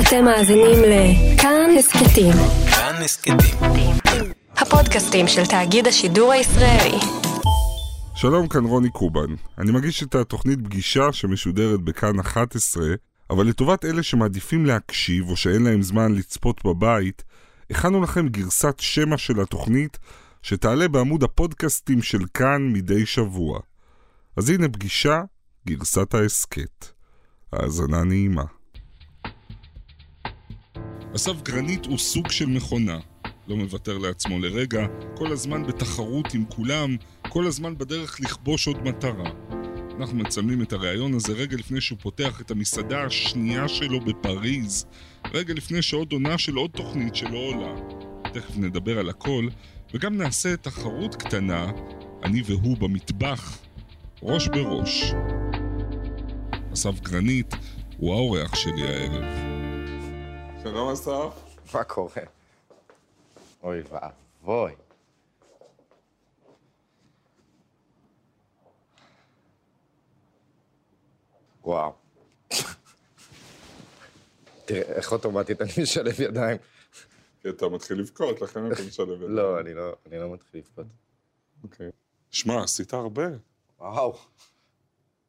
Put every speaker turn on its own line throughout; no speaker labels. אתם מאזינים לכאן הסכתים.
כאן הסכתים.
הפודקאסטים של תאגיד השידור הישראלי.
שלום, כאן רוני קובן. אני מגיש את התוכנית פגישה שמשודרת בכאן 11, אבל לטובת אלה שמעדיפים להקשיב או שאין להם זמן לצפות בבית, הכנו לכם גרסת שמע של התוכנית שתעלה בעמוד הפודקאסטים של כאן מדי שבוע. אז הנה פגישה, גרסת ההסכת. האזנה נעימה. אסף גרנית הוא סוג של מכונה. לא מוותר לעצמו לרגע, כל הזמן בתחרות עם כולם, כל הזמן בדרך לכבוש עוד מטרה. אנחנו מצלמים את הריאיון הזה רגע לפני שהוא פותח את המסעדה השנייה שלו בפריז, רגע לפני שעוד עונה של עוד תוכנית שלא עולה. תכף נדבר על הכל, וגם נעשה תחרות קטנה, אני והוא במטבח, ראש בראש. אסף גרנית הוא האורח שלי הערב. שלום אסף.
מה קורה? אוי ואבוי. וואו. תראה, איך אוטומטית אני משלב ידיים.
כי אתה מתחיל לבכות, לכן אתה משלב את זה.
לא, אני לא, אני לא מתחיל לבכות.
אוקיי. שמע, עשית הרבה.
וואו.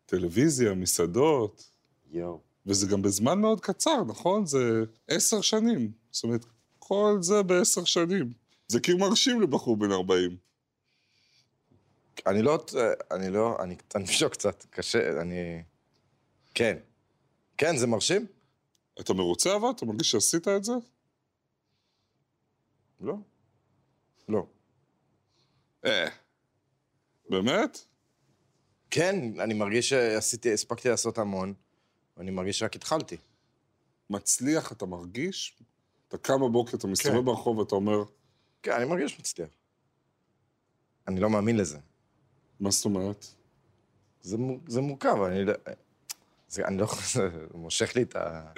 טלוויזיה, מסעדות,
יואו.
וזה גם בזמן מאוד קצר, נכון? זה עשר שנים. זאת אומרת, כל זה בעשר שנים. זה כאילו מרשים לבחור בן 40.
אני לא, אני לא, אני, אני בשוק קצת, קשה, אני... כן. כן, זה מרשים?
אתה מרוצה אבל? אתה מרגיש שעשית את זה?
לא. לא.
אה. באמת?
כן, אני מרגיש שעשיתי, הספקתי לעשות המון, ואני מרגיש שרק התחלתי.
מצליח, אתה מרגיש? אתה קם בבוקר, אתה מסתובב
כן.
ברחוב ואתה אומר,
כן, אני מרגיש מצליח. אני לא מאמין לזה.
מה זאת אומרת?
זה, מו- זה מורכב, אני לא... זה, אני לא יכול... זה מושך לי את ה...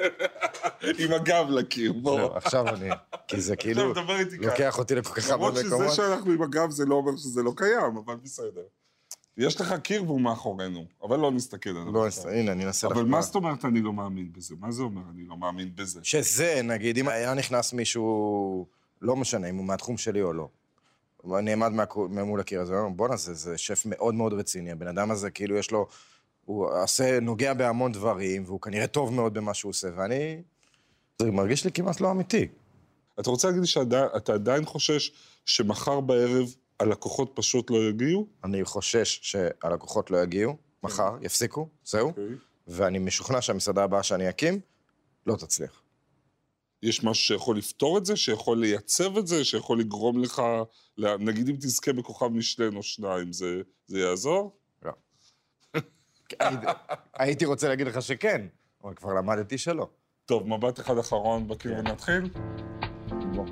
עם הגב לקיר, בוא.
לא, עכשיו אני... כי זה כאילו...
עכשיו דבר איתי ככה.
לוקח אותי לכל כך הרבה
למרות שזה
מקומות.
שאנחנו עם הגב זה לא אומר שזה לא קיים, אבל בסדר. יש לך קיר והוא מאחורינו, אבל לא נסתכל עליו.
בוא, נס- הנה, אני אנסה
אבל
לחקור.
מה זאת אומרת אני לא מאמין בזה? מה זה אומר אני לא מאמין בזה?
שזה, נגיד, אם היה נכנס מישהו, לא משנה אם הוא מהתחום שלי או לא. הוא נעמד מהקו- מול הקיר הזה, ואומר, בואנה, זה, זה שף מאוד מאוד רציני. הבן אדם הזה, כאילו, יש לו... הוא עושה, נוגע בהמון דברים, והוא כנראה טוב מאוד במה שהוא עושה, ואני... זה מרגיש לי כמעט לא אמיתי.
אתה רוצה להגיד לי שאתה עדיין חושש שמחר בערב הלקוחות פשוט לא יגיעו?
אני חושש שהלקוחות לא יגיעו מחר, יפסיקו, זהו,
אוקיי.
ואני משוכנע שהמסעדה הבאה שאני אקים לא תצליח.
יש משהו שיכול לפתור את זה, שיכול לייצב את זה, שיכול לגרום לך, ל- נגיד אם תזכה בכוכב משלן או שניים, זה, זה יעזור?
הייתי- הייתי רוצה להגיד לך שכן, אבל כבר למדתי שלא.
טוב, מבט אחד אחרון בקיר
כן.
ונתחיל.
בוא.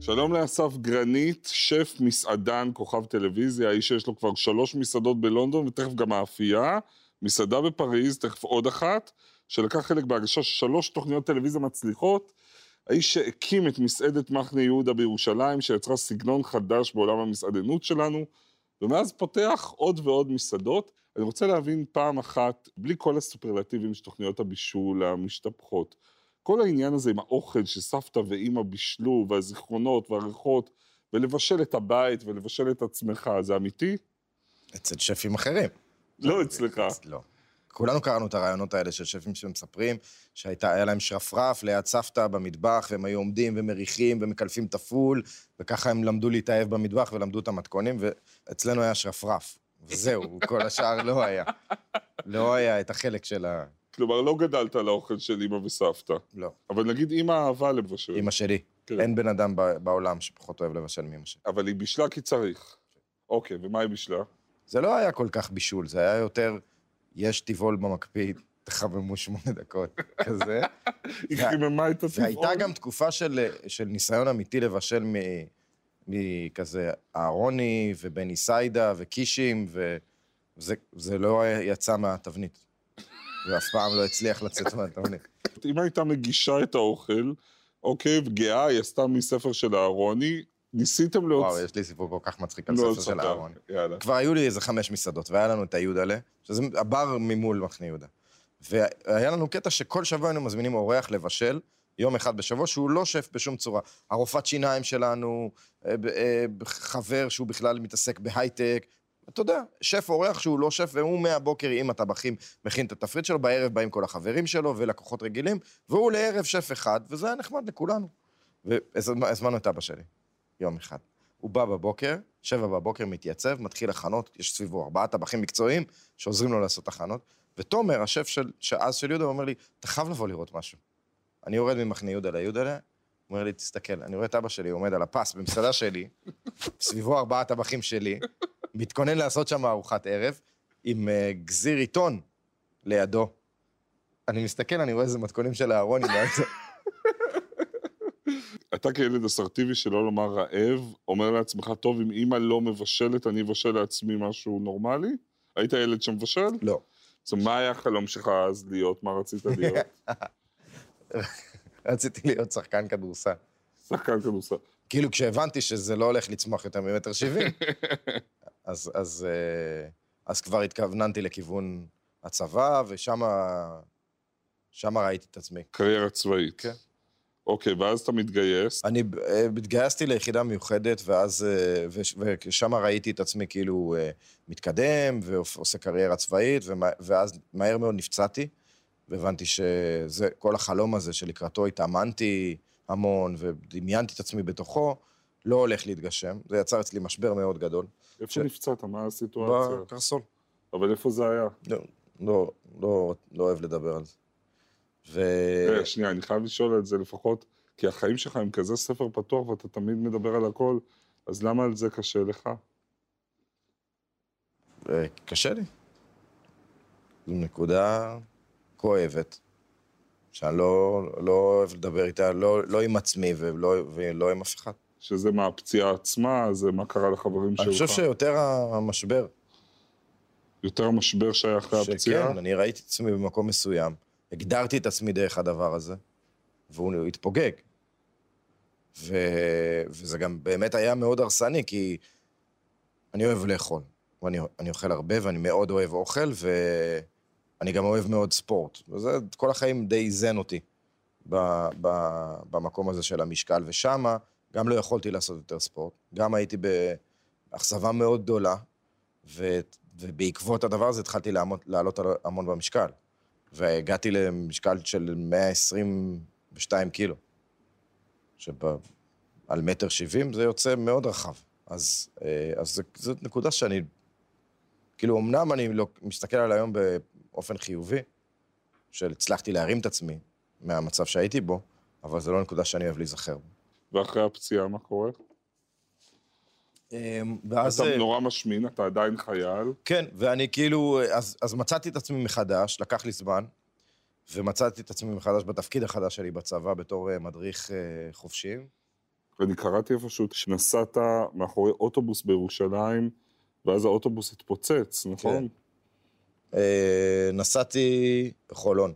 שלום לאסף גרנית, שף מסעדן, כוכב טלוויזיה, האיש שיש לו כבר שלוש מסעדות בלונדון ותכף גם מאפייה, מסעדה בפריז, תכף עוד אחת, שלקח חלק בהגשה של שלוש תוכניות טלוויזיה מצליחות, האיש שהקים את מסעדת מחנה יהודה בירושלים, שיצרה סגנון חדש בעולם המסעדנות שלנו, ומאז פותח עוד ועוד מסעדות. אני רוצה להבין פעם אחת, בלי כל הסופרלטיבים של תוכניות הבישול המשתפכות, כל העניין הזה עם האוכל שסבתא ואימא בישלו, והזיכרונות והריחות, ולבשל את הבית ולבשל את עצמך, זה אמיתי?
אצל שפים אחרים.
לא אצלך.
לא. כולנו קראנו את הרעיונות האלה של שפים שמספרים שהיה להם שרפרף ליד סבתא במטבח, והם היו עומדים ומריחים ומקלפים את הפול, וככה הם למדו להתאהב במטבח ולמדו את המתכונים, ואצלנו היה שרפרף. וזהו, כל השאר לא היה. לא היה את החלק של ה...
כלומר, לא גדלת על האוכל של אימא וסבתא.
לא.
אבל נגיד אימא אהבה לבשל.
אימא שלי.
כן.
אין בן אדם ב- בעולם שפחות אוהב לבשל מאמא שלי.
אבל היא בישלה כי צריך. אוקיי, ומה היא בישלה?
זה לא היה כל כך בישול, זה היה יותר, יש טבעול במקפיא, תחממו שמונה דקות, כזה.
היא
וה-
חיממה את הטבעון.
והייתה גם תקופה של, של ניסיון אמיתי לבשל מ, מכזה אהרוני ובני סיידה וקישים, וזה זה לא יצא מהתבנית. ואף פעם לא הצליח לצאת מהתבנית.
אם הייתה מגישה את האוכל, אוקיי, וגאה, היא עשתה מספר של אהרוני, ניסיתם
וואו,
להוציא...
יש לי סיפור כל כך מצחיק על
לא,
ספר של
ספר.
אהרון.
יאללה.
כבר היו לי איזה חמש מסעדות, והיה לנו את היודלה, שזה הבר ממול מחנה יהודה. והיה לנו קטע שכל שבוע היינו מזמינים אורח לבשל, יום אחד בשבוע, שהוא לא שף בשום צורה. הרופאת שיניים שלנו, אה, ב- אה, חבר שהוא בכלל מתעסק בהייטק, אתה יודע, שף אורח שהוא לא שף, והוא מהבוקר עם הטבחים מכין את התפריט שלו, בערב באים כל החברים שלו ולקוחות רגילים, והוא לערב שף אחד, וזה היה נחמד לכולנו. והזמנו את אבא שלי, יום אחד. הוא בא בבוקר, שבע בבוקר, מתייצב, מתחיל הכנות, יש סביבו ארבעה טבחים מקצועיים שעוזרים לו לעשות הכנות, ותומר, השף של, שאז של יהודה, אומר לי, אתה חייב לבוא לראות משהו. אני יורד ממחנה יהודה ליהודלה, הוא אומר לי, תסתכל, אני רואה את אבא שלי עומד על הפס במסעדה שלי, סביבו ארבעה טבחים שלי, מתכונן לעשות שם ארוחת ערב, עם אה, גזיר עיתון לידו. אני מסתכל, אני רואה איזה מתכונים של אהרון, עם ה-
אתה כילד אסרטיבי, שלא לומר רעב, אומר לעצמך, טוב, אם אימא לא מבשלת, אני אבשל לעצמי משהו נורמלי? היית ילד שמבשל?
לא.
אז מה היה החלום שלך אז להיות? מה רצית להיות?
רציתי להיות שחקן כדורסל.
שחקן כדורסל.
כאילו, כשהבנתי שזה לא הולך לצמוח יותר ממטר שבעים, אז, אז, אה, אז כבר התכווננתי לכיוון הצבא, ושם שמה ראיתי את עצמי.
קריירה צבאית.
כן.
אוקיי, ואז אתה מתגייס.
אני אה, התגייסתי ליחידה מיוחדת, ואז... אה, וש- ושם ראיתי את עצמי כאילו אה, מתקדם, ועושה קריירה צבאית, ומה- ואז מהר מאוד נפצעתי, והבנתי שזה כל החלום הזה שלקראתו התאמנתי המון, ודמיינתי את עצמי בתוכו, לא הולך להתגשם. זה יצר אצלי משבר מאוד גדול. ש-
איפה נפצעת? מה הסיטואציה?
בקרסול.
אבל איפה זה היה?
לא, לא, לא, לא אוהב לדבר על זה. ו... כן.
רגע, אה, שנייה, אני חייב לשאול את זה לפחות, כי החיים שלך הם כזה ספר פתוח ואתה תמיד מדבר על הכל, אז למה על זה קשה לך?
אה, קשה לי. זו נקודה כואבת, שאני לא, לא אוהב לדבר איתה, לא, לא עם עצמי ולא, ולא עם אף אחד.
שזה מה, הפציעה עצמה, זה מה קרה לחברים שלך?
אני חושב שיותר המשבר.
יותר המשבר שהיה אחרי הפציעה?
שכן, אני ראיתי את עצמי במקום מסוים, הגדרתי את עצמי דרך הדבר הזה, והוא התפוגג. ו... וזה גם באמת היה מאוד הרסני, כי אני אוהב לאכול. ואני אני אוכל הרבה, ואני מאוד אוהב אוכל, ואני גם אוהב מאוד ספורט. וזה כל החיים די איזן אותי ב... ב... במקום הזה של המשקל. ושמה גם לא יכולתי לעשות יותר ספורט. גם הייתי באכזבה מאוד גדולה, ו... ובעקבות הדבר הזה התחלתי לעמוד, לעלות על- המון במשקל. והגעתי למשקל של 122 קילו, שעל מטר שבעים זה יוצא מאוד רחב. אז, אה, אז זו- זאת נקודה שאני, כאילו, אמנם אני לא, מסתכל על היום באופן חיובי, שהצלחתי להרים את עצמי מהמצב שהייתי בו, אבל זו לא נקודה שאני אוהב להיזכר בה.
ואחרי הפציעה, מה קורה?
ואז...
אתה לא נורא משמין, אתה עדיין חייל.
כן, ואני כאילו, אז, אז מצאתי את עצמי מחדש, לקח לי זמן, ומצאתי את עצמי מחדש בתפקיד החדש שלי בצבא בתור אה, מדריך אה, חובשים.
ואני קראתי איפשהו שנסעת מאחורי אוטובוס בירושלים, ואז האוטובוס התפוצץ, נכון?
כן, אה, נסעתי בחולון,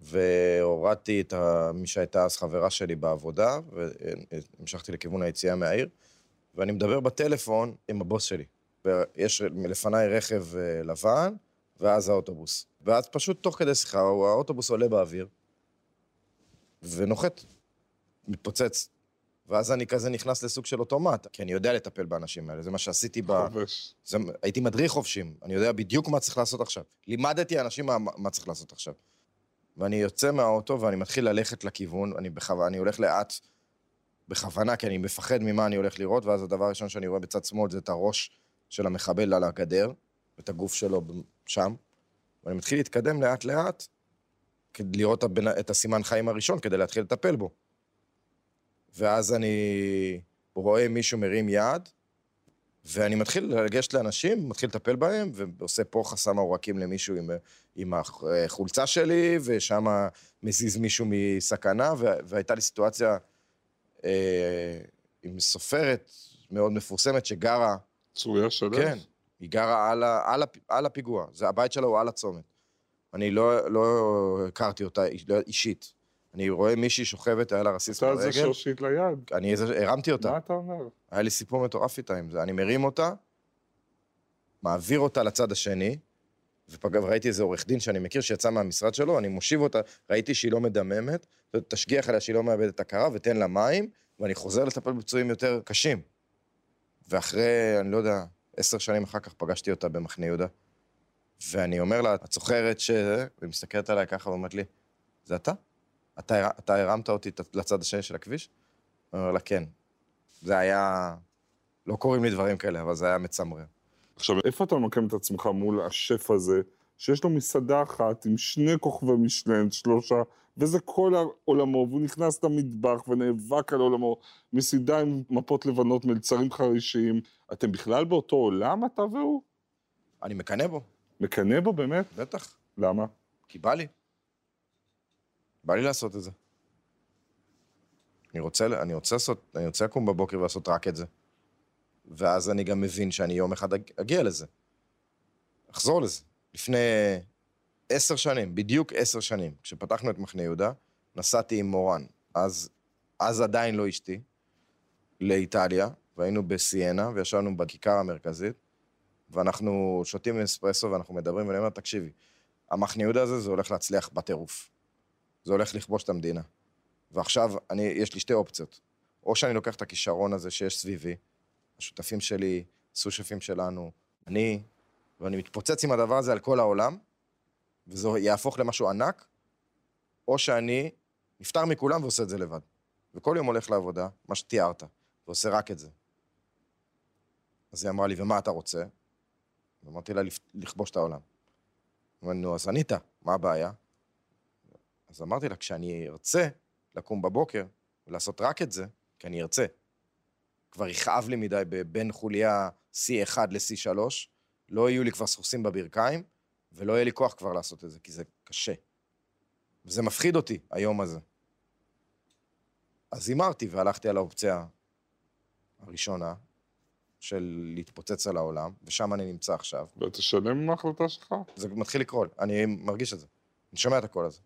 והורדתי את ה... מי שהייתה אז חברה שלי בעבודה, והמשכתי לכיוון היציאה מהעיר, ואני מדבר בטלפון עם הבוס שלי. יש לפניי רכב אה, לבן, ואז האוטובוס. ואז פשוט תוך כדי שיחה, הוא- האוטובוס עולה באוויר, ונוחת, מתפוצץ. ואז אני כזה נכנס לסוג של אוטומט, כי אני יודע לטפל באנשים האלה, זה מה שעשיתי ב...
חובש.
זה, הייתי מדריך חובשים, אני יודע בדיוק מה צריך לעשות עכשיו. לימדתי אנשים מה, מה צריך לעשות עכשיו. ואני יוצא מהאוטו ואני מתחיל ללכת לכיוון, אני, בכו... אני הולך לאט בכוונה, כי אני מפחד ממה אני הולך לראות, ואז הדבר הראשון שאני רואה בצד שמאל זה את הראש של המחבל על הגדר, ואת הגוף שלו ב- שם. ואני מתחיל להתקדם לאט-לאט, כדי לראות את הבנ- את הסימן חיים הראשון, כדי להתחיל לטפל בו. ואז אני רואה מישהו מרים יד, ואני מתחיל לגשת לאנשים, מתחיל לטפל בהם, ועושה פה חסם עורקים למישהו עם, עם החולצה שלי, ושם מזיז מישהו מסכנה, ו- והייתה לי סיטואציה אה, עם סופרת מאוד מפורסמת שגרה,
צוריה שלו?
כן, היא גרה על, ה- על, הפ- על הפיגוע, זה, הבית שלה הוא על הצומת. אני לא, לא הכרתי אותה איש- לא- אישית, אני רואה מישהי שוכבת, היה לה רסיס
עשתה את זה
ברגל.
שושית ליד.
אני איזה- הרמתי אותה.
מה אתה אומר?
היה לי סיפור מטורף איתה עם זה. אני מרים אותה, מעביר אותה לצד השני, ופגע, וראיתי איזה עורך דין שאני מכיר שיצא מהמשרד שלו, אני מושיב אותה, ראיתי שהיא לא מדממת, זאת אומרת, תשגיח עליה שהיא לא מאבדת הכרה ותן לה מים, ואני חוזר לטפל בפצועים יותר קשים. ואחרי, אני לא יודע, עשר שנים אחר כך פגשתי אותה במחנה יהודה, ואני אומר לה, את זוכרת ש... והיא מסתכלת עליי ככה ואומרת לי, זה אתה? אתה, הר- אתה הרמת אותי ת- לצד השני של הכביש? אני אומר לה, כן. זה היה... לא קוראים לי דברים כאלה, אבל זה היה מצמרר.
עכשיו, איפה אתה ממקם את עצמך מול השף הזה, שיש לו מסעדה אחת עם שני כוכבי משלן, שלושה, וזה כל עולמו, והוא נכנס למטבח ונאבק על עולמו, מסעדה עם מפות לבנות, מלצרים חרישיים. אתם בכלל באותו עולם, אתה והוא?
אני מקנא בו,
מקנא בו באמת?
בטח,
למה?
כי בא לי. בא לי לעשות את זה. אני רוצה, אני רוצה, לעשות, אני רוצה לקום בבוקר ולעשות רק את זה. ואז אני גם מבין שאני יום אחד אג- אגיע לזה. אחזור לזה. לפני עשר שנים, בדיוק עשר שנים, כשפתחנו את מחנה יהודה, נסעתי עם מורן, אז, אז עדיין לא אשתי, לאיטליה, והיינו בסיינה, וישבנו בכיכר המרכזית, ואנחנו שותים אספרסו ואנחנו מדברים, ואני אומר, תקשיבי, המחנה יהודה הזה, זה הולך להצליח בטירוף. זה הולך לכבוש את המדינה. ועכשיו, אני, יש לי שתי אופציות. או שאני לוקח את הכישרון הזה שיש סביבי, השותפים שלי, סושפים שלנו, אני, ואני מתפוצץ עם הדבר הזה על כל העולם, וזה יהפוך למשהו ענק, או שאני נפטר מכולם ועושה את זה לבד. וכל יום הולך לעבודה, מה שתיארת, ועושה רק את זה. אז היא אמרה לי, ומה אתה רוצה? ואמרתי לה, "לפ- לכבוש את העולם. אמרתי, נו, אז ענית, מה הבעיה? אז אמרתי לה, כשאני ארצה לקום בבוקר ולעשות רק את זה, כי אני ארצה. כבר יכאב לי מדי בין חוליה C1 ל-C3, לא יהיו לי כבר סחוסים בברכיים, ולא יהיה לי כוח כבר לעשות את זה, כי זה קשה. וזה מפחיד אותי, היום הזה. אז הימרתי והלכתי על האופציה הראשונה של להתפוצץ על העולם, ושם אני נמצא עכשיו.
ותשלם עם ההחלטה שלך?
זה מתחיל לקרול, אני מרגיש את זה. אני שומע את הקול הזה.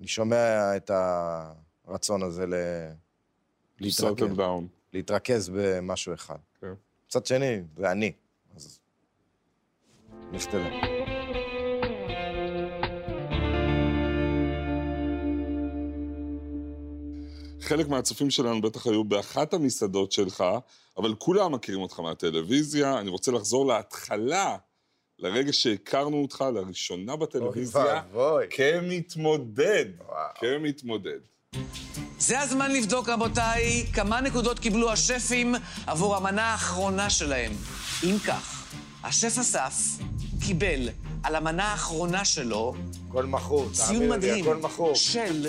אני שומע את הרצון הזה ל... להתרכז,
Settle down.
להתרכז במשהו אחד.
כן.
מצד שני, זה אני, אז... לך תדע.
חלק מהצופים שלנו בטח היו באחת המסעדות שלך, אבל כולם מכירים אותך מהטלוויזיה. אני רוצה לחזור להתחלה, לרגע שהכרנו אותך לראשונה בטלוויזיה,
ואבוי.
כמתמודד.
וואו.
כמתמודד.
זה הזמן לבדוק, רבותיי, כמה נקודות קיבלו השפים עבור המנה האחרונה שלהם. אם כך, השף אסף קיבל על המנה האחרונה שלו
כל מכור,
ציון מדהים של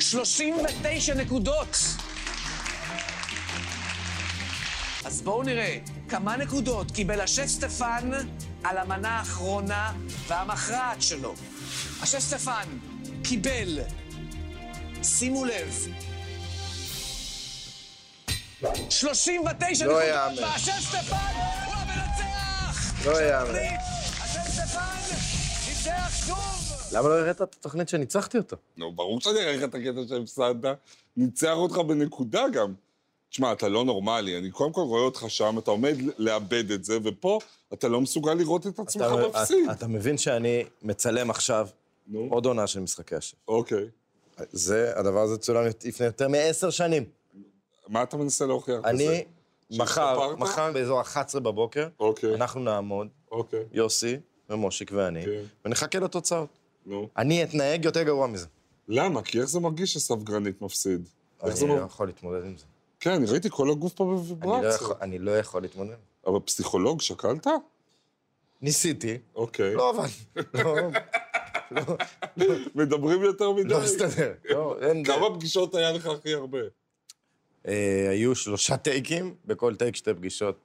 39 נקודות. אז בואו נראה כמה נקודות קיבל השף סטפן על המנה האחרונה והמכרעת שלו. השף סטפן קיבל, שימו לב, 39
לא
נקודות,
יאמן.
והשף סטפן הוא המנצח!
לא
של
יאמן.
התוכנית. השף סטפן ניצח שוב!
למה לא הראית את התוכנית שניצחתי אותה?
נו, ברור שאני אראה לך את הקטע שהפסדת. ניצח אותך בנקודה גם. תשמע, אתה לא נורמלי, אני קודם כל רואה אותך שם, אתה עומד לאבד את זה, ופה אתה לא מסוגל לראות את עצמך מפסיד.
אתה מבין שאני מצלם עכשיו
נו.
עוד עונה של משחקי השף.
אוקיי.
זה, הדבר הזה צולם לפני יותר מעשר שנים.
מה אתה מנסה להוכיח בזה?
אני, מחר,
שהשתפרת?
מחר באזור 11 בבוקר,
אוקיי.
אנחנו נעמוד,
אוקיי,
יוסי ומושיק ואני,
כן.
ונחכה לתוצאות.
נו.
אני אתנהג יותר גרוע מזה.
למה? כי איך זה מרגיש שסף גרנית מפסיד? איך זה
אני לא
מרגיש?
יכול להתמודד עם זה.
כן, אני ראיתי כל הגוף פה
אני לא
בוויברציה.
יכול- אני לא יכול להתמודד.
אבל פסיכולוג, שקלת?
ניסיתי,
אוקיי.
לא עבד. לא,
מדברים יותר מדי.
לא הסתדר. לא, אין-
כמה פגישות היה לך הכי הרבה?
אה, היו שלושה טייקים, בכל טייק שתי פגישות.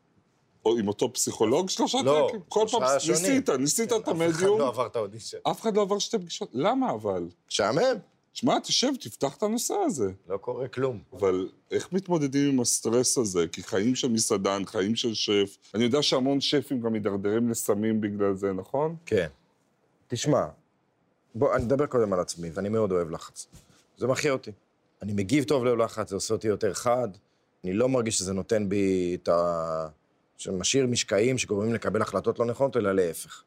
או עם אותו פסיכולוג שלושה
לא,
טייקים? כל פעם
שלושה שונים.
ניסית, ניסית את
אף אחד
המדיום.
לא עבר את האודישן.
אף אחד לא עבר שתי פגישות. למה אבל?
משעמם,
שמע, תשב, תפתח את הנושא הזה.
לא קורה כלום.
אבל איך מתמודדים עם הסטרס הזה? כי חיים של מסעדן, חיים של שף. אני יודע שהמון שפים גם מידרדרים לסמים בגלל זה, נכון?
כן. תשמע, בוא, אני אדבר קודם על עצמי, ואני מאוד אוהב לחץ. זה מכריע אותי. אני מגיב טוב ללחץ, זה עושה אותי יותר חד, אני לא מרגיש שזה נותן בי את ה... שמשאיר משקעים שגורמים לקבל החלטות לא נכונות, אלא להפך.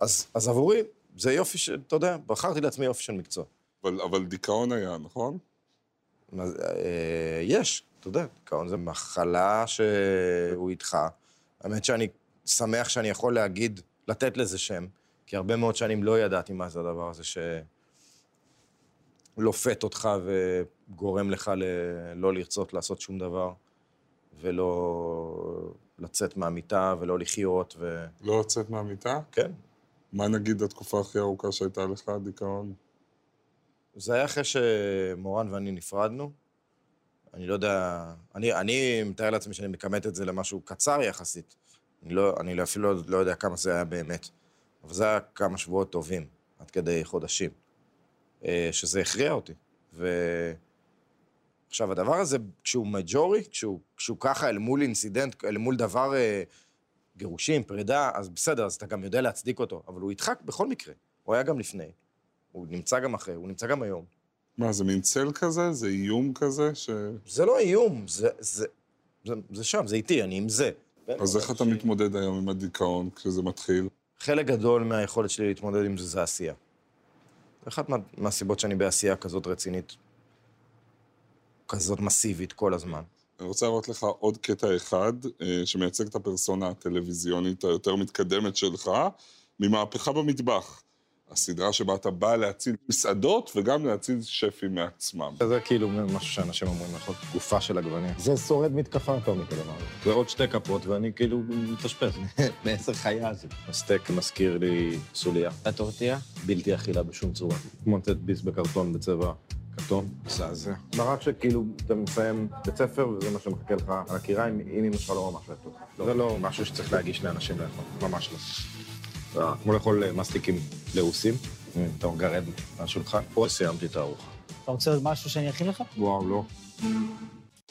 אז, אז עבורי, זה יופי של, אתה יודע, בחרתי לעצמי יופי של מקצוע.
אבל, אבל דיכאון היה, נכון?
מה זה, אה, יש, אתה יודע, דיכאון זה מחלה שהוא איתך. האמת שאני שמח שאני יכול להגיד, לתת לזה שם, כי הרבה מאוד שנים לא ידעתי מה זה הדבר הזה שלופת אותך וגורם לך ל... לא לרצות לעשות שום דבר, ולא לצאת מהמיטה ולא לחיות, ו...
לא לצאת מהמיטה?
כן,
מה נגיד התקופה הכי ארוכה שהייתה לך, דיכאון?
זה היה אחרי שמורן ואני נפרדנו. אני לא יודע... אני, אני מתאר לעצמי שאני מכמת את זה למשהו קצר יחסית. אני, לא, אני אפילו לא יודע כמה זה היה באמת. אבל זה היה כמה שבועות טובים, עד כדי חודשים. אה, שזה הכריע אותי. ו... עכשיו, הדבר הזה, כשהוא מג'ורי, כשהוא, כשהוא ככה אל מול אינסידנט, אל מול דבר... אה, גירושים, פרידה, אז בסדר, אז אתה גם יודע להצדיק אותו. אבל הוא איתך בכל מקרה. הוא היה גם לפני. הוא נמצא גם אחרי, הוא נמצא גם היום.
מה, זה מין צל כזה? זה איום כזה? ש...
זה לא איום, זה, זה, זה, זה שם, זה איתי, אני עם זה.
אז איך אתה מתמודד היום עם הדיכאון כשזה מתחיל?
חלק גדול מהיכולת שלי להתמודד עם זה זה עשייה. זה אחת מה, מהסיבות שאני בעשייה כזאת רצינית, כזאת מסיבית כל הזמן.
אני רוצה להראות לך עוד קטע אחד, אה, שמייצג את הפרסונה הטלוויזיונית היותר מתקדמת שלך, ממהפכה במטבח. הסדרה שבה אתה בא להציל מסעדות וגם להציל שפים מעצמם.
זה כאילו משהו שאנשים אומרים, יכול להיות תקופה של עגבניה. זה שורד מתקפה אטומית, הדבר הזה.
ועוד שתי כפות, ואני כאילו מתאשפז. מאיזה חיה זה? הסטייק מזכיר לי סוליה.
הטורטיה?
בלתי אכילה בשום צורה. כמו לתת ביס בקרטון בצבע כתום. מזעזע.
מרק שכאילו אתה מסיים בית ספר וזה מה שמחכה לך על הקיריים, אם אמא שלך לא ממש אוהבת אותך.
זה לא משהו שצריך להגיש לאנשים לאכול, ממש לא. אה, כמו לאכול אה, מסטיקים לעוסים, אתה גרד מהשולחן, או סיימתי את הארוחה.
אתה רוצה עוד משהו שאני אכין לך?
וואו, לא.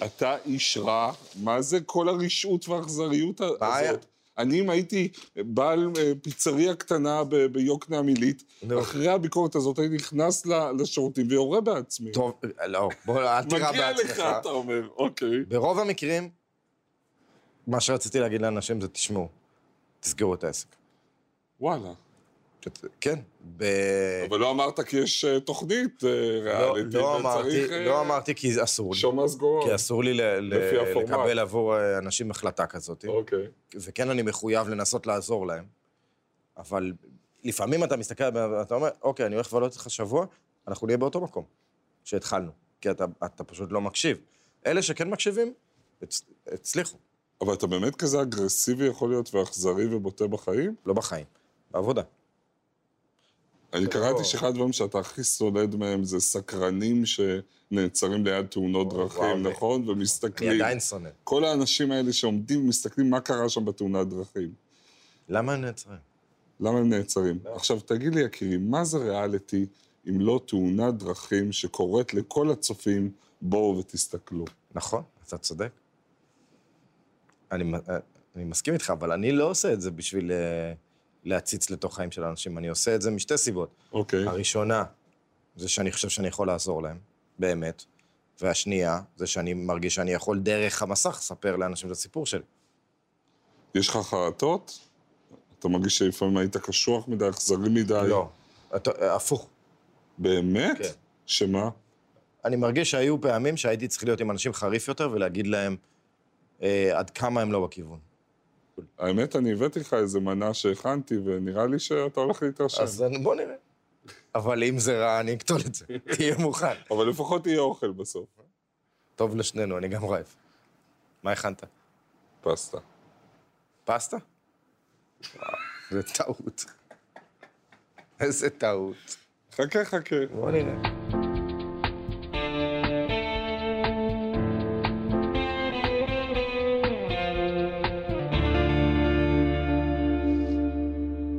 אתה איש רע, מה זה כל הרשעות והאכזריות הזאת?
בעיה.
אני, אם הייתי בעל אה, פיצריה קטנה ב- ביוקנעם עילית,
נו.
אחרי הביקורת הזאת הייתי נכנס ל- לשירותים ויורה בעצמי.
טוב, לא, בוא, אל תירא
מגיע
בעצמך.
לך, אתה אומר, אוקיי.
ברוב המקרים, מה שרציתי להגיד לאנשים זה, תשמעו, תסגרו את העסק.
וואלה.
כן, ב...
אבל לא אמרת כי יש אה, תוכנית אה,
לא,
ריאליטי,
לא, אמרתי,
וצריך... אה,
לא אמרתי כי אסור לי,
שומע סגור.
כי אסור לי ל- ל-
לפי הפורמט.
לקבל עבור אה, אנשים החלטה כזאת,
אוקיי.
וכן אני מחויב לנסות לעזור להם, אבל לפעמים אתה מסתכל ואתה אומר, אוקיי, אני הולך לבלות איתך שבוע, אנחנו נהיה באותו מקום שהתחלנו, כי אתה, אתה פשוט לא מקשיב. אלה שכן מקשיבים, הצ, הצליחו,
אבל אתה באמת כזה אגרסיבי יכול להיות ואכזרי ובוטה בחיים?
לא בחיים, בעבודה.
אני
כן, לא.
קראתי שאחד הדברים שאתה הכי סולד מהם זה סקרנים שנעצרים ליד תאונות דרכים,
וואו,
נכון?
אני
ומסתכלים.
עדיין שונא.
כל האנשים האלה שעומדים ומסתכלים מה קרה שם בתאונת דרכים.
למה הם נעצרים?
למה הם נעצרים?
לא.
עכשיו, תגיד לי, יקירי, מה זה ריאליטי אם לא תאונת דרכים שקורית לכל הצופים, בואו ותסתכלו.
נכון, אתה צודק. אני, מ- אה, אני מסכים איתך, אבל אני לא עושה את זה בשביל אה, להציץ לתוך חיים של האנשים, אני עושה את זה משתי סיבות.
אוקיי.
הראשונה, זה שאני חושב שאני יכול לעזור להם, באמת, והשנייה, זה שאני מרגיש שאני יכול דרך המסך לספר לאנשים את הסיפור שלי.
יש לך חרטות? אתה מרגיש שלפעמים היית קשוח מדי, אכזרי מדי?
לא, אתה- אה, הפוך.
באמת?
כן.
שמה?
אני מרגיש שהיו פעמים שהייתי צריך להיות עם אנשים חריף יותר ולהגיד להם אה, עד כמה הם לא בכיוון.
האמת, אני הבאתי לך איזה מנה שהכנתי, ונראה לי שאתה הולך להתרשם.
אז אני- בוא נראה. אבל אם זה רע, אני אקטול את זה. תהיה מוכן.
אבל לפחות יהיה אוכל בסוף.
טוב לשנינו, אני גם רעב. מה הכנת?
פסטה.
פסטה? וואו, זה טעות. איזה טעות.
חכה, חכה.
בוא נראה.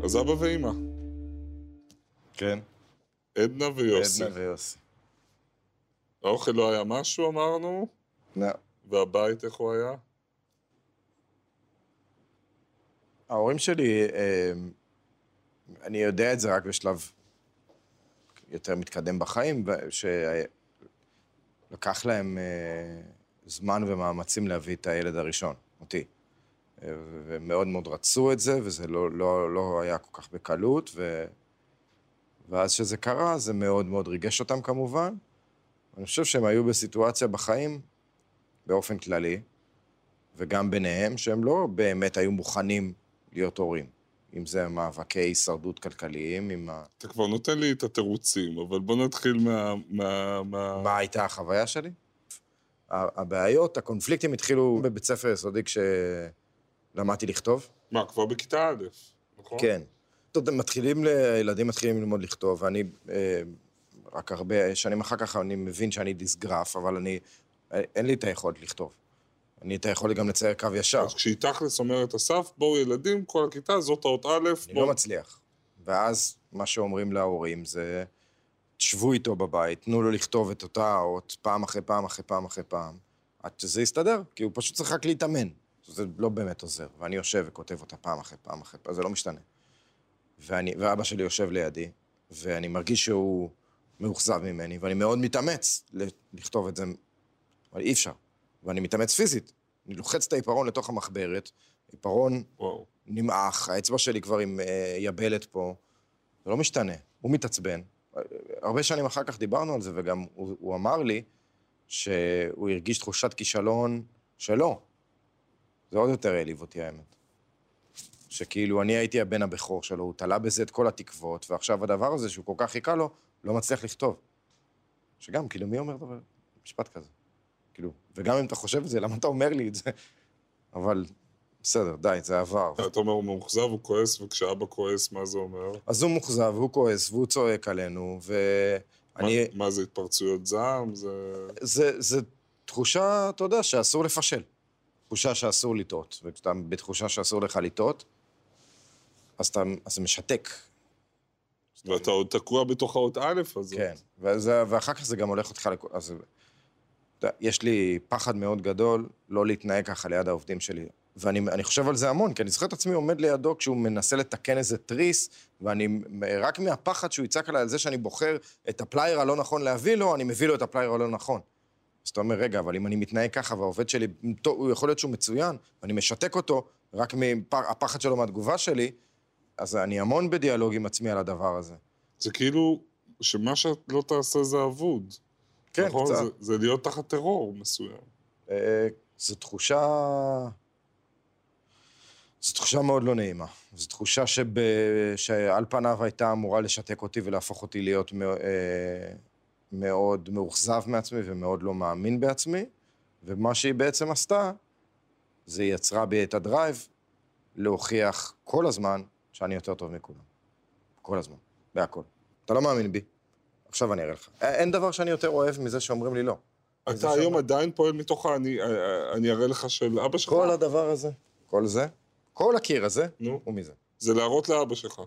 אז אבא ואימא,
כן,
עדנה ויוסי.
עדנה ויוסי.
האוכל לא היה משהו, אמרנו,
לא.
והבית, איך הוא היה?
ההורים שלי, אה, אני יודע את זה רק בשלב יותר מתקדם בחיים, שלקח להם אה, זמן ומאמצים להביא את הילד הראשון, אותי. אה, ו- ומאוד מאוד רצו את זה, וזה לא, לא, לא היה כל כך בקלות, ו... ואז שזה קרה, זה מאוד מאוד ריגש אותם כמובן. אני חושב שהם היו בסיטואציה בחיים, באופן כללי, וגם ביניהם, שהם לא באמת היו מוכנים להיות הורים. אם זה מאבקי הישרדות כלכליים, עם ה...
אתה כבר נותן לי את התירוצים, אבל בוא נתחיל מה... מה... מה...
מה הייתה החוויה שלי? ה- הבעיות, הקונפליקטים התחילו בבית ספר יסודי כשלמדתי לכתוב.
מה, כבר בכיתה א', נכון?
כן. אתה יודע, מתחילים, ל- ילדים מתחילים ללמוד לכתוב, ואני, אה, רק הרבה שנים אחר כך אני מבין שאני דיסגרף, אבל אני, אה, אין לי את היכולת לכתוב. אני את היכולת גם לצייר קו ישר.
אז כשהיא תכלס אומרת אסף, בואו ילדים, כל הכיתה, זאת האות א',
אני לא
בואו...
מצליח. ואז מה שאומרים להורים זה, תשבו איתו בבית, תנו לו לכתוב את אותה האות פעם אחרי פעם אחרי פעם אחרי פעם, עד שזה יסתדר, כי הוא פשוט צריך רק להתאמן. זה לא באמת עוזר, ואני יושב וכותב אותה פעם אחרי פעם אחרי פעם, זה לא משתנה. ואני, ואבא שלי יושב לידי, ואני מרגיש שהוא מאוכזב ממני, ואני מאוד מתאמץ ל- לכתוב את זה, אבל אי אפשר. ואני מתאמץ פיזית. אני לוחץ את העיפרון לתוך המחברת, עיפרון
וואו.
נמעך, האצבע שלי כבר עם אה, יבלת פה, זה לא משתנה, הוא מתעצבן. אה, הרבה שנים אחר כך דיברנו על זה, וגם הוא, הוא אמר לי שהוא הרגיש תחושת כישלון שלו. זה עוד יותר העליב אותי, האמת. שכאילו, אני הייתי הבן הבכור שלו, הוא תלה בזה את כל התקוות, ועכשיו הדבר הזה שהוא כל כך חיכה לו, לא מצליח לכתוב. שגם, כאילו, מי אומר דבר? משפט כזה. כאילו, וגם אם אתה חושב את זה, למה אתה אומר לי את זה? אבל בסדר, די, זה עבר.
אתה אומר, הוא מאוכזב, הוא כועס, וכשאבא כועס, מה זה אומר?
אז הוא מאוכזב, והוא כועס, והוא צועק עלינו, ואני...
מה, מה זה התפרצויות זעם? זה...
זה, זה תחושה, אתה יודע, שאסור לפשל. תחושה שאסור לטעות. וכשאתה בתחושה שאסור לך לטעות, אז אתה אז זה משתק.
ואתה עוד תקוע בתוך האות א' הזאת.
כן. וזה, ואחר כך זה גם הולך אותך לכל... אז... אתה יודע, יש לי פחד מאוד גדול לא להתנהג ככה ליד העובדים שלי. ואני אני חושב על זה המון, כי אני זוכר את עצמי עומד לידו כשהוא מנסה לתקן איזה תריס, ואני, רק מהפחד שהוא יצעק עליי על זה שאני בוחר את הפלייר הלא נכון להביא לו, אני מביא לו את הפלייר הלא נכון. אז אתה אומר, רגע, אבל אם אני מתנהג ככה והעובד שלי, טוב, הוא יכול להיות שהוא מצוין, ואני משתק אותו רק מהפחד שלו מהתגובה שלי, אז אני המון בדיאלוג עם עצמי על הדבר הזה.
זה כאילו, שמה שאת לא תעשה זה אבוד.
כן,
נכון?
קצת.
זה, זה להיות תחת טרור מסוים.
אה, זו תחושה... זו תחושה מאוד לא נעימה. זו תחושה שב... שעל פניו הייתה אמורה לשתק אותי ולהפוך אותי להיות מא... אה, מאוד מאוכזב מעצמי ומאוד לא מאמין בעצמי, ומה שהיא בעצם עשתה, זה היא יצרה בי את הדרייב להוכיח כל הזמן שאני יותר טוב מכולם. כל הזמן, בהכל. אתה לא מאמין בי, עכשיו אני אראה לך. א- אין דבר שאני יותר אוהב מזה שאומרים לי לא. וזה
אתה היום
שם-
עדיין פועל מתוך האני, אה, אני אראה לך של אבא שלך?
כל הדבר הזה, כל זה, כל הקיר הזה,
נו.
הוא מזה.
זה להראות לאבא שלך,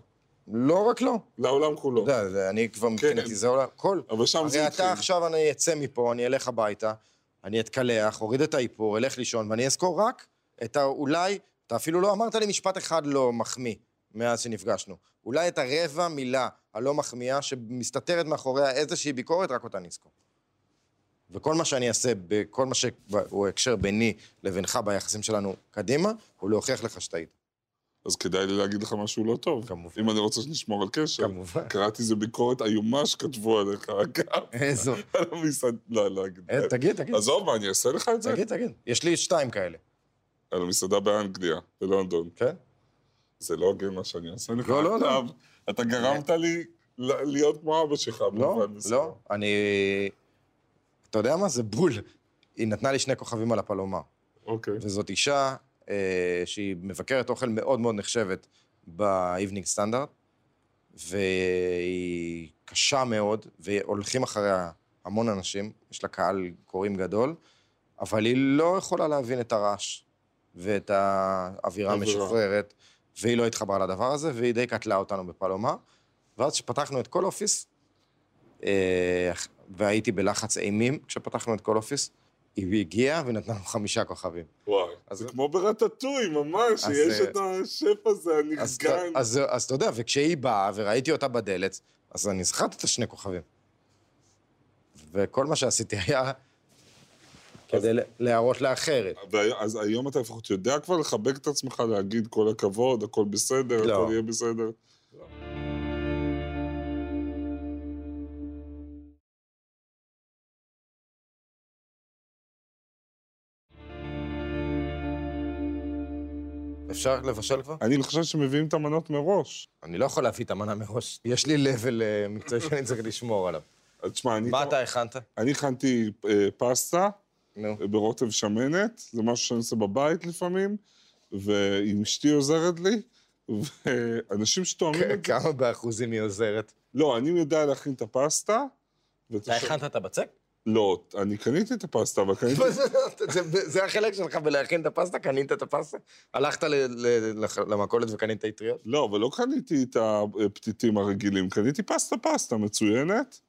לא רק לא.
לעולם
אתה
כולו.
יודע, זה- אני כבר מבחינתי, זה עולם, כל.
אבל שם כן, זה
הרי
התחיל.
אתה עכשיו, אני אצא מפה, אני אלך הביתה, אני אתקלח, אוריד את האיפור, אלך לישון, ואני אזכור רק את האולי, אתה אפילו לא אמרת לי משפט אחד לא מחמיא מאז שנפגשנו. אולי את הרבע מילה הלא מחמיאה שמסתתרת מאחוריה איזושהי ביקורת, רק אותה אני אזכור. וכל מה שאני אעשה, כל מה שהוא הקשר ביני לבינך ביחסים שלנו קדימה, הוא להוכיח לך שאתה היית.
אז כדאי לי להגיד לך משהו לא טוב.
כמובן.
אם אני רוצה שנשמור על קשר.
כמובן.
קראתי איזה ביקורת איומה שכתבו עליך, אגב.
איזו...
על המסעדה, לא, לא אגיד.
אה, תגיד, תגיד.
עזוב, מה, אני אעשה לך את זה?
תגיד, תגיד. יש לי שתיים כאלה,
על המסעדה באנגליה, בלונדון.
כן?
זה לא הוגן מה שאני עושה לך.
לא, לא, לא.
אב, אתה גרמת לי ל- להיות כמו אבא שלך,
לא,
במובן מסוים.
לא. אני... אתה יודע מה? זה בול. היא נתנה לי שני כוכבים על הפלומה.
אוקיי.
וזאת אישה אה, שהיא מבקרת אוכל מאוד מאוד נחשבת ב-Evening Standard, והיא קשה מאוד, והולכים אחריה המון אנשים, יש לה קהל קוראים גדול, אבל היא לא יכולה להבין את הרעש ואת האווירה
אווירה.
המשוחררת, והיא לא התחברה לדבר הזה, והיא די קטלה אותנו בפלומה. ואז כשפתחנו את כל אופיס, אה, והייתי בלחץ אימים כשפתחנו את כל אופיס, היא הגיעה ונתנה לנו חמישה כוכבים.
וואי.
אז-
זה כמו ברטטוי, ממש,
אז,
יש
אה,
את השף הזה,
אז, אתה-
הנרגן.
אז, אז אתה יודע, וכשהיא באה וראיתי אותה בדלת, אז אני זכרתי את השני כוכבים. וכל מה שעשיתי היה כדי ל- להראות לאחרת.
ואז היום אתה לפחות יודע כבר לחבק את עצמך, להגיד כל הכבוד, הכל בסדר,
לא.
הכל יהיה בסדר.
אפשר לבשל כבר?
אני לא חושב שמביאים את המנות מראש.
אני לא יכול להביא את המנה מראש. יש לי לבל אה, מקצועי שאני צריך לשמור עליו.
אז תשמע, אני...
מה אתה הכנת?
אני הכנתי אה, פסטה
נו.
אה, ברוטב שמנת, זה משהו שאני עושה בבית לפעמים, ואם אשתי עוזרת לי, ואנשים שתואמים את זה...
כמה באחוזים היא עוזרת?
לא, אני יודע להכין את הפסטה, ואתה...
אתה הכנת לא, את הבצק?
לא, אני קניתי את הפסטה, אבל קניתי...
זה- זה החלק שלך בלהכין את הפסטה? קנית את הפסטה? הלכת ל- ל- לח- למכולת וקנית אטריות?
לא, אבל לא קניתי את הפתיתים הרגילים, קניתי פסטה פסטה מצוינת.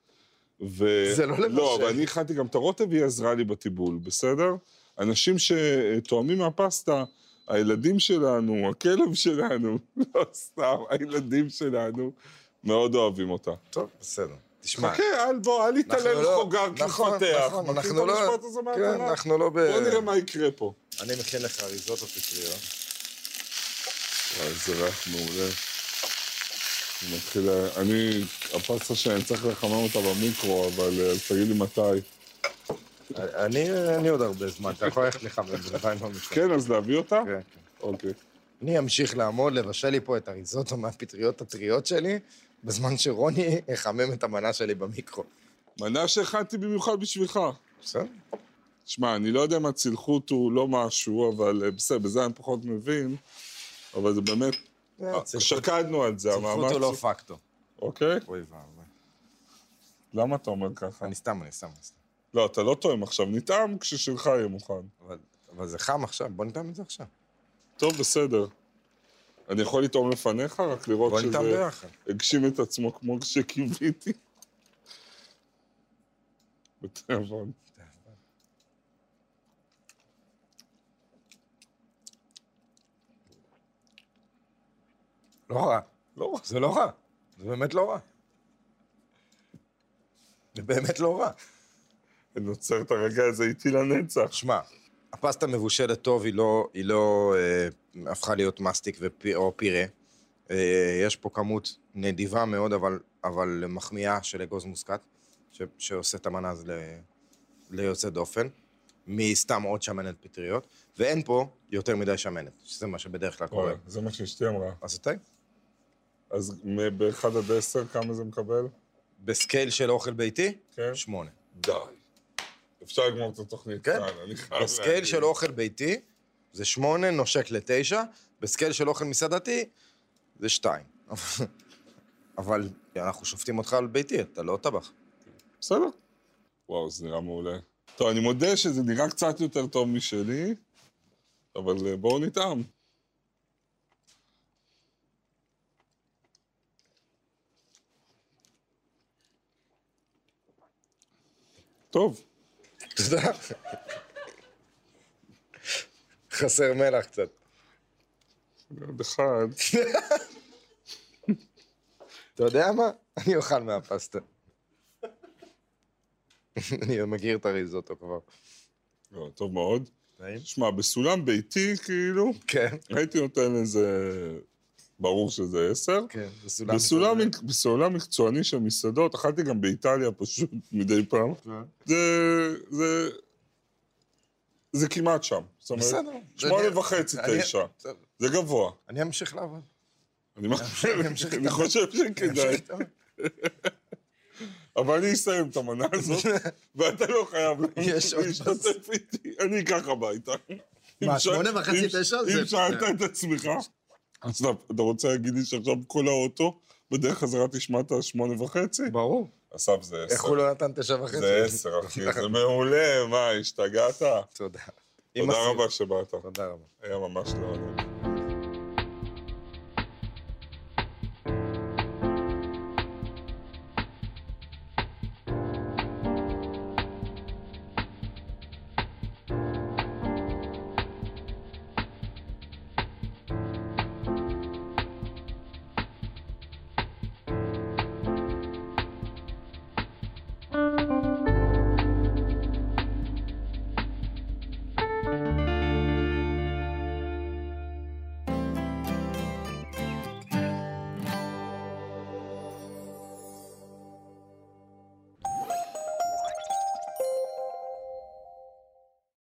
ו...
זה לא לבשל.
לא, אבל אני הכנתי גם את הרוטב, היא עזרה לי בטיבול, בסדר? אנשים שתואמים מהפסטה, הילדים שלנו, הכלב שלנו, לא סתם, הילדים שלנו, מאוד אוהבים אותה.
טוב, בסדר. תשמע,
חכה, אל בוא, אל
אנחנו
יתעלם
לא-
חוגר
נכון,
כמפתח.
נכון,
מכיר
אנחנו
את
לא-
המשפט הזה
כן,
מהתנ"ך?
אנחנו לא ב...
בוא נראה מה יקרה פה.
אני מכין לך ריזוטו פטריות.
וואי, איזה ריח מעולה. אני מתחיל... ל- אני... הפסטה שאני צריך לחמם אותה במיקרו, אבל אה, אז תגיד לי מתי.
אני, אני עוד הרבה זמן, אתה יכול ללכת לך בינתיים לא מתקדם.
כן, אז להביא אותה?
כן.
אוקיי.
אני אמשיך לעמוד, לבשל לי פה את הריזוטו מהפטריות הטריות שלי, בזמן שרוני יחמם את המנה שלי במיקרו.
מנה שהכנתי במיוחד בשבילך.
בסדר?
שמע, אני לא יודע אם הצלחות הוא לא משהו, אבל אה, בסדר, בזה אני פחות מבין, אבל זה באמת... אה, שקדנו על זה,
צלחות
המאמץ...
הוא לא פקטו.
אוקיי?
אוי ואבוי.
למה אתה אומר ככה?
אני סתם, אני סתם, אני סתם.
לא, אתה לא טועם עכשיו, נטעם כששלך יהיה מוכן.
אבל- אבל זה חם עכשיו, בוא נטעם את זה עכשיו.
טוב, בסדר. אני יכול לטעום לפניך, רק לראות
בוא נטעם
שזה
ביחד.
הגשים את עצמו כמו שקיוויתי. בתיאבון.
לא רע. לא רע. זה לא רע. זה באמת לא רע. זה באמת לא רע.
אני עוצר את הרגע הזה איתי לנצח.
שמע, הפסטה מבושלת טוב, היא לא, היא לא אה, הפכה להיות מסטיק ופי, או פירה. אה, יש פה כמות נדיבה מאוד, אבל, אבל מחמיאה של אגוז מוסקת, ש, שעושה את המנה הזו ל, ליוצא דופן, מסתם עוד שמנת פטריות, ואין פה יותר מדי שמנת, שזה מה שבדרך כלל קורה.
וואלה, זה מה שאשתי אמרה.
אז אתה
אז מ- באחד עד עשר, כמה זה מקבל?
בסקייל של אוכל ביתי?
כן.
שמונה.
די. אפשר לגמור את התוכנית
כן.
כאן, אני חייב להגיד.
בסקייל של אוכל ביתי זה שמונה, נושק לתשע, בסקייל של אוכל מסעדתי זה שתיים. אבל אנחנו שופטים אותך על ביתי, אתה לא טבח.
בסדר. וואו, זה נראה מעולה. טוב, אני מודה שזה נראה קצת יותר טוב משלי, אבל אה, בואו נטעם. טוב,
תודה. חסר מלח קצת.
עוד אחד.
אתה יודע מה? אני אוכל מהפסטה. אני מכיר את הריזוטו כבר.
לא, טוב מאוד.
נעים?
שמע, בסולם ביתי, כאילו,
כן.
הייתי נותן איזה... ברור שזה עשר.
כן, בסולם.
בסולם, בסולם מקצועני של מסעדות, אכלתי גם באיטליה פשוט מדי פעם.
כן.
זה... זה... זה כמעט שם. זאת אומרת,
בסדר.
שמונה וחצי,
אני-
תשע.
בסדר.
זה גבוה.
אני אמשיך לעבוד.
אני מה-
אני אמשיך
אני
איתך.
חושב שכדאי. אבל אני אסיים את המנה הזאת, ואתה לא חייב
יש עוד
להשתתף איתי. אני אקח הביתה.
מה,
אם ש-
שמונה וחצי,
אם-
תשע?
אם
זה-
שאלת את עצמך, אז אתה- אתה רוצה להגיד לי שעכשיו כל האוטו, בדרך חזרה תשמע את השמונה וחצי?
ברור.
אסף זה
איך
עשר.
הוא לא נתן תשע וחצי?
זה עשר, אחי. זה מעולה, מה, השתגעת?
תודה. עם
תודה
הסיום.
רבה שבאת.
תודה רבה.
היה ממש לא...